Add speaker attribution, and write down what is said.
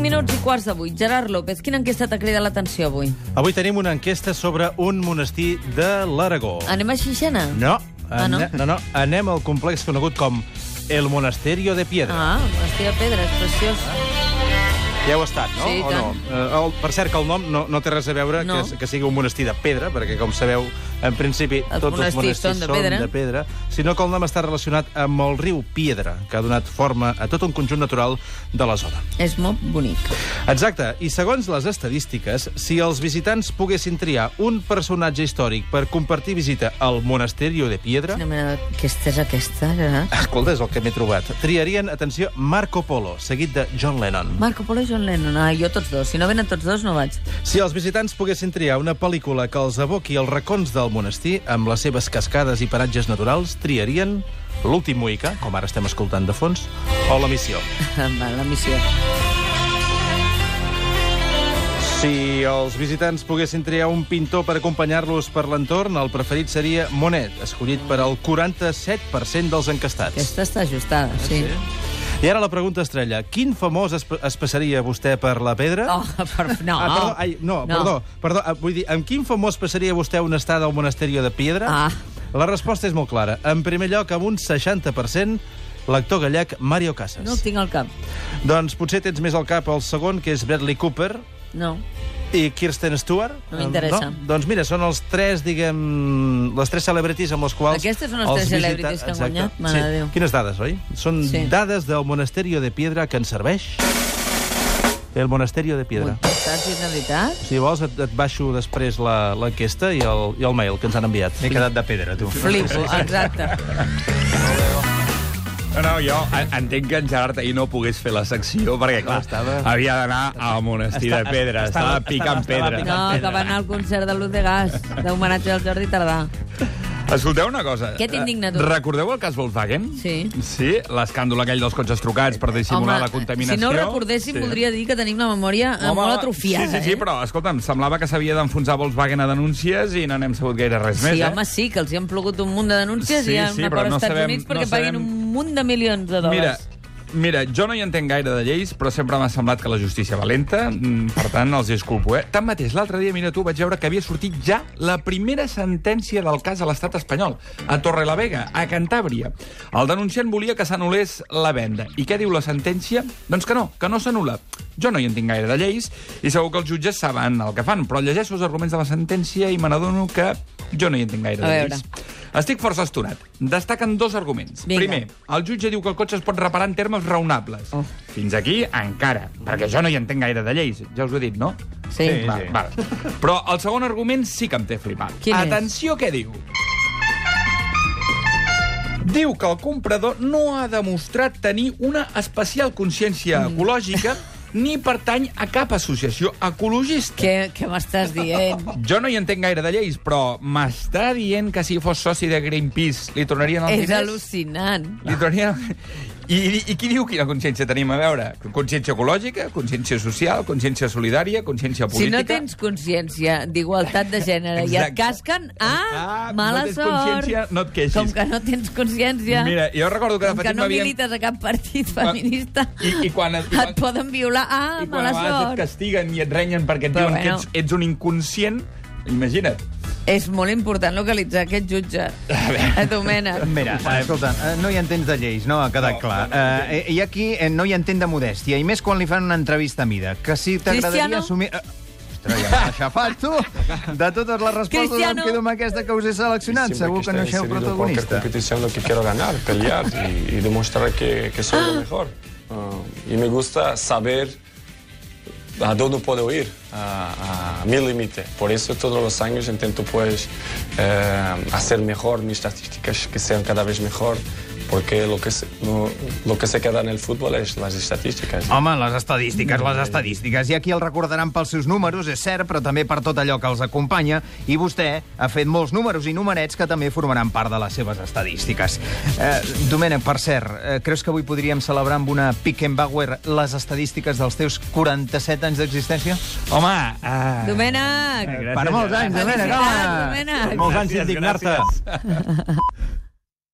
Speaker 1: minuts i quarts de vuit. Gerard López, quina enquesta t'ha cridat l'atenció avui?
Speaker 2: Avui tenim una enquesta sobre un monestir de l'Aragó.
Speaker 1: Anem a Xixena?
Speaker 2: No,
Speaker 1: Ah, no?
Speaker 2: ane- no, no, anem al complex conegut com El Monasterio de Piedra.
Speaker 1: Ah, Monestir de Pedra, és preciós.
Speaker 2: Ja heu estat, no?
Speaker 1: Sí, i
Speaker 2: o no?
Speaker 1: tant.
Speaker 2: Eh, el, per cert, que el nom no, no té res a veure
Speaker 1: No.
Speaker 2: que, es- que sigui un monestir de pedra, perquè, com sabeu, en principi
Speaker 1: Els
Speaker 2: tots els
Speaker 1: monestirs
Speaker 2: monestirs
Speaker 1: són de pedra.
Speaker 2: són de pedra, sinó que el nom està relacionat amb el riu Piedra, que ha donat forma a tot un conjunt natural de la zona.
Speaker 1: És molt bonic.
Speaker 2: Exacte, i segons les estadístiques, si els visitants poguessin triar un personatge històric per compartir visita al Monasterio de Piedra...
Speaker 1: Quina mena d'aquesta és aquesta, Gerard?
Speaker 2: Escolta, és el que m'he trobat. Triarien, atenció, Marco Polo, seguit de John Lennon.
Speaker 1: Marco Polo i John Lennon. Ah, jo tots dos. Si no venen tots dos, no vaig.
Speaker 2: Si els visitants poguessin triar una pel·lícula que els evoqui els racons del monestir amb les seves cascades i paratges naturals, triarien l'últim Moica, com ara estem escoltant de fons, o la missió.
Speaker 1: Va, la missió.
Speaker 2: Si els visitants poguessin triar un pintor per acompanyar-los per l'entorn, el preferit seria Monet, escollit per al 47% dels encastats.
Speaker 1: Aquesta està ajustada,
Speaker 2: Ah,
Speaker 1: sí.
Speaker 2: I ara la pregunta estrella. Quin famós es, es passaria vostè per la pedra?
Speaker 1: Oh, per... No.
Speaker 2: Ah, perdó, ai, no, no, perdó, perdó, ah, vull dir, amb quin famós passaria vostè una estada al monasterio de Piedra?
Speaker 1: Ah.
Speaker 2: La resposta és molt clara. En primer lloc, amb un 60%, l'actor gallec Mario Casas.
Speaker 1: No el tinc al cap.
Speaker 2: Doncs potser tens més al cap el segon, que és Bradley Cooper,
Speaker 1: No.
Speaker 2: i Kirsten Stewart?
Speaker 1: No m'interessa.
Speaker 2: Eh, Doncs mira, són els tres, diguem, les tres celebrities amb les quals...
Speaker 1: Aquestes són les
Speaker 2: els
Speaker 1: tres celebrities que han
Speaker 2: Exacte.
Speaker 1: guanyat, mare de Déu.
Speaker 2: Quines dades, oi? Són
Speaker 1: Sí.
Speaker 2: dades del Monasterio de Piedra que ens serveix. El Monasterio de Piedra.
Speaker 1: Ui, Saps, és de veritat?
Speaker 2: Si vols, et, et baixo després la- l'enquesta i, el, i el mail que ens han enviat.
Speaker 3: M'he quedat de pedra, tu.
Speaker 1: Flipo, exacte.
Speaker 3: No, no, jo en- entenc que en Gerard ahir no pogués fer la secció, perquè, clar,
Speaker 2: estava-
Speaker 3: havia d'anar al monestir
Speaker 2: Està-
Speaker 3: de pedra,
Speaker 2: estava-
Speaker 3: estava,
Speaker 2: estava-
Speaker 3: picant
Speaker 2: estava
Speaker 3: pedra.
Speaker 1: No, que va anar al concert de Luz de Gas, d'homenatge al Jordi Tardà.
Speaker 3: Escolteu una cosa.
Speaker 1: Què t'indigna, tu?
Speaker 3: Eh, Recordeu el cas Volkswagen?
Speaker 1: Sí.
Speaker 3: Sí? L'escàndol aquell dels cotxes trucats per dissimular la contaminació.
Speaker 1: si no ho recordéssim, sí. voldria dir que tenim la memòria eh,
Speaker 3: Home,
Speaker 1: molt atrofiada.
Speaker 3: Sí, sí, sí,
Speaker 1: eh?
Speaker 3: però, escolta'm, semblava que s'havia d'enfonsar Volkswagen a denúncies i no n'hem sabut gaire res
Speaker 1: Sí,
Speaker 3: més,
Speaker 1: home,
Speaker 3: eh?
Speaker 1: sí, que els hi han plogut un munt de denúncies
Speaker 3: Sí,
Speaker 1: i hi ha
Speaker 3: sí,
Speaker 1: un
Speaker 3: però
Speaker 1: acord
Speaker 3: no
Speaker 1: als Estats
Speaker 3: sabem-
Speaker 1: Units perquè
Speaker 3: no
Speaker 1: paguin
Speaker 3: sabem-
Speaker 1: un munt de milions de
Speaker 3: Mira,
Speaker 1: dòlars.
Speaker 3: Mira, jo no hi entenc gaire de lleis, però sempre m'ha semblat que la justícia valenta, mm, per tant, els disculpo, eh? Tanmateix, l'altre dia, mira tu, vaig veure que havia sortit ja la primera sentència del cas a l'estat espanyol, a Torrelavega, a Cantàbria. El denunciant volia que s'anulés la venda. I què diu la sentència? Doncs que no, que no s'anula. Jo no hi entenc gaire de lleis i segur que els jutges saben el que fan, però llegeixo els arguments de la sentència i me n'adono que jo no hi entenc gaire
Speaker 1: A
Speaker 3: de
Speaker 1: veure.
Speaker 3: lleis. Estic força estonat. Destaquen dos arguments.
Speaker 1: Vinga.
Speaker 3: Primer, el jutge diu que el cotxe es pot reparar en termes raonables.
Speaker 1: Oh.
Speaker 3: Fins aquí, encara. Perquè jo no hi entenc gaire de lleis. Ja us ho he dit, no?
Speaker 1: Sí. Sí,
Speaker 3: Va,
Speaker 2: sí.
Speaker 3: Va. Però el segon argument sí que em té flipant.
Speaker 1: Quin és?
Speaker 3: Atenció què diu. Diu que el comprador no ha demostrat tenir una especial consciència
Speaker 1: Mm.
Speaker 3: ecològica ni pertany a cap associació ecologista.
Speaker 1: Què, què m'estàs dient?
Speaker 3: Jo no hi entenc gaire de lleis, però m'està dient que si fos soci de Greenpeace li tornarien els
Speaker 1: És
Speaker 3: diners?
Speaker 1: al·lucinant.
Speaker 3: Li tornarien... I, i, I qui diu quina consciència tenim a veure? Consciència ecològica, consciència social, consciència solidària, consciència
Speaker 1: Si
Speaker 3: política...
Speaker 1: no tens consciència d'igualtat de gènere i et
Speaker 3: Exacte.
Speaker 1: casquen, ah,
Speaker 3: Ah,
Speaker 1: mala
Speaker 3: no tens
Speaker 1: sort.
Speaker 3: consciència, no et queixis.
Speaker 1: Com que no tens consciència,
Speaker 3: Mira, jo recordo que de
Speaker 1: com que
Speaker 3: petit
Speaker 1: no
Speaker 3: m'havien-
Speaker 1: milites a cap partit feminista,
Speaker 3: I- i quan- i quan-
Speaker 1: et poden violar, ah,
Speaker 3: I quan a
Speaker 1: mala
Speaker 3: vegades et
Speaker 1: sort.
Speaker 3: castiguen i et renyen perquè et
Speaker 1: Però
Speaker 3: diuen que
Speaker 1: bueno.
Speaker 3: ets, ets un inconscient, imagina't.
Speaker 1: És molt important localitzar aquest jutge. A Domènec.
Speaker 4: Mira, eh, escolta, eh, no hi entens de lleis, no? Ha quedat
Speaker 3: No,
Speaker 4: clar.
Speaker 3: no, no.
Speaker 4: Eh, eh, I aquí eh, no hi entén de modèstia, i més quan li fan una entrevista a mida. Que si
Speaker 1: Cristiano?
Speaker 4: t'agradaria assumir... Eh, Ostres, ja m'has aixafat, tu! De totes les respostes
Speaker 1: Cristiano?
Speaker 4: em quedo amb aquesta que us he seleccionat.
Speaker 5: Siempre
Speaker 4: Segur que no sé
Speaker 5: estar
Speaker 4: el
Speaker 5: inserido en
Speaker 4: protagonista.
Speaker 5: Cualquier competición lo que quiero ganar, pelear y, y demostrar que, que soy lo mejor. Ah, y me gusta saber a dónde puedo ir, a, a mi límite. Por eso todos los años intento pues eh, hacer mejor mis estadísticas, que sean cada vez mejor. Porque lo que, se, lo, lo que se queda en el fútbol es las estadísticas.
Speaker 4: Home, les estadístiques, les estadístiques. I aquí el recordaran pels seus números, és cert, però també per tot allò que els acompanya. I vostè ha fet molts números i numerets que també formaran part de les seves estadístiques. Eh, Domènec, per cert, eh, creus que avui podríem celebrar amb una Pickenbauer les estadístiques dels teus 47 anys d'existència?
Speaker 3: Home, ah,
Speaker 1: Domènec!
Speaker 4: eh, Per molts anys, Domènec,
Speaker 1: Felicitats,
Speaker 4: home!
Speaker 1: Domènec!
Speaker 2: Molts anys d'indignar-te.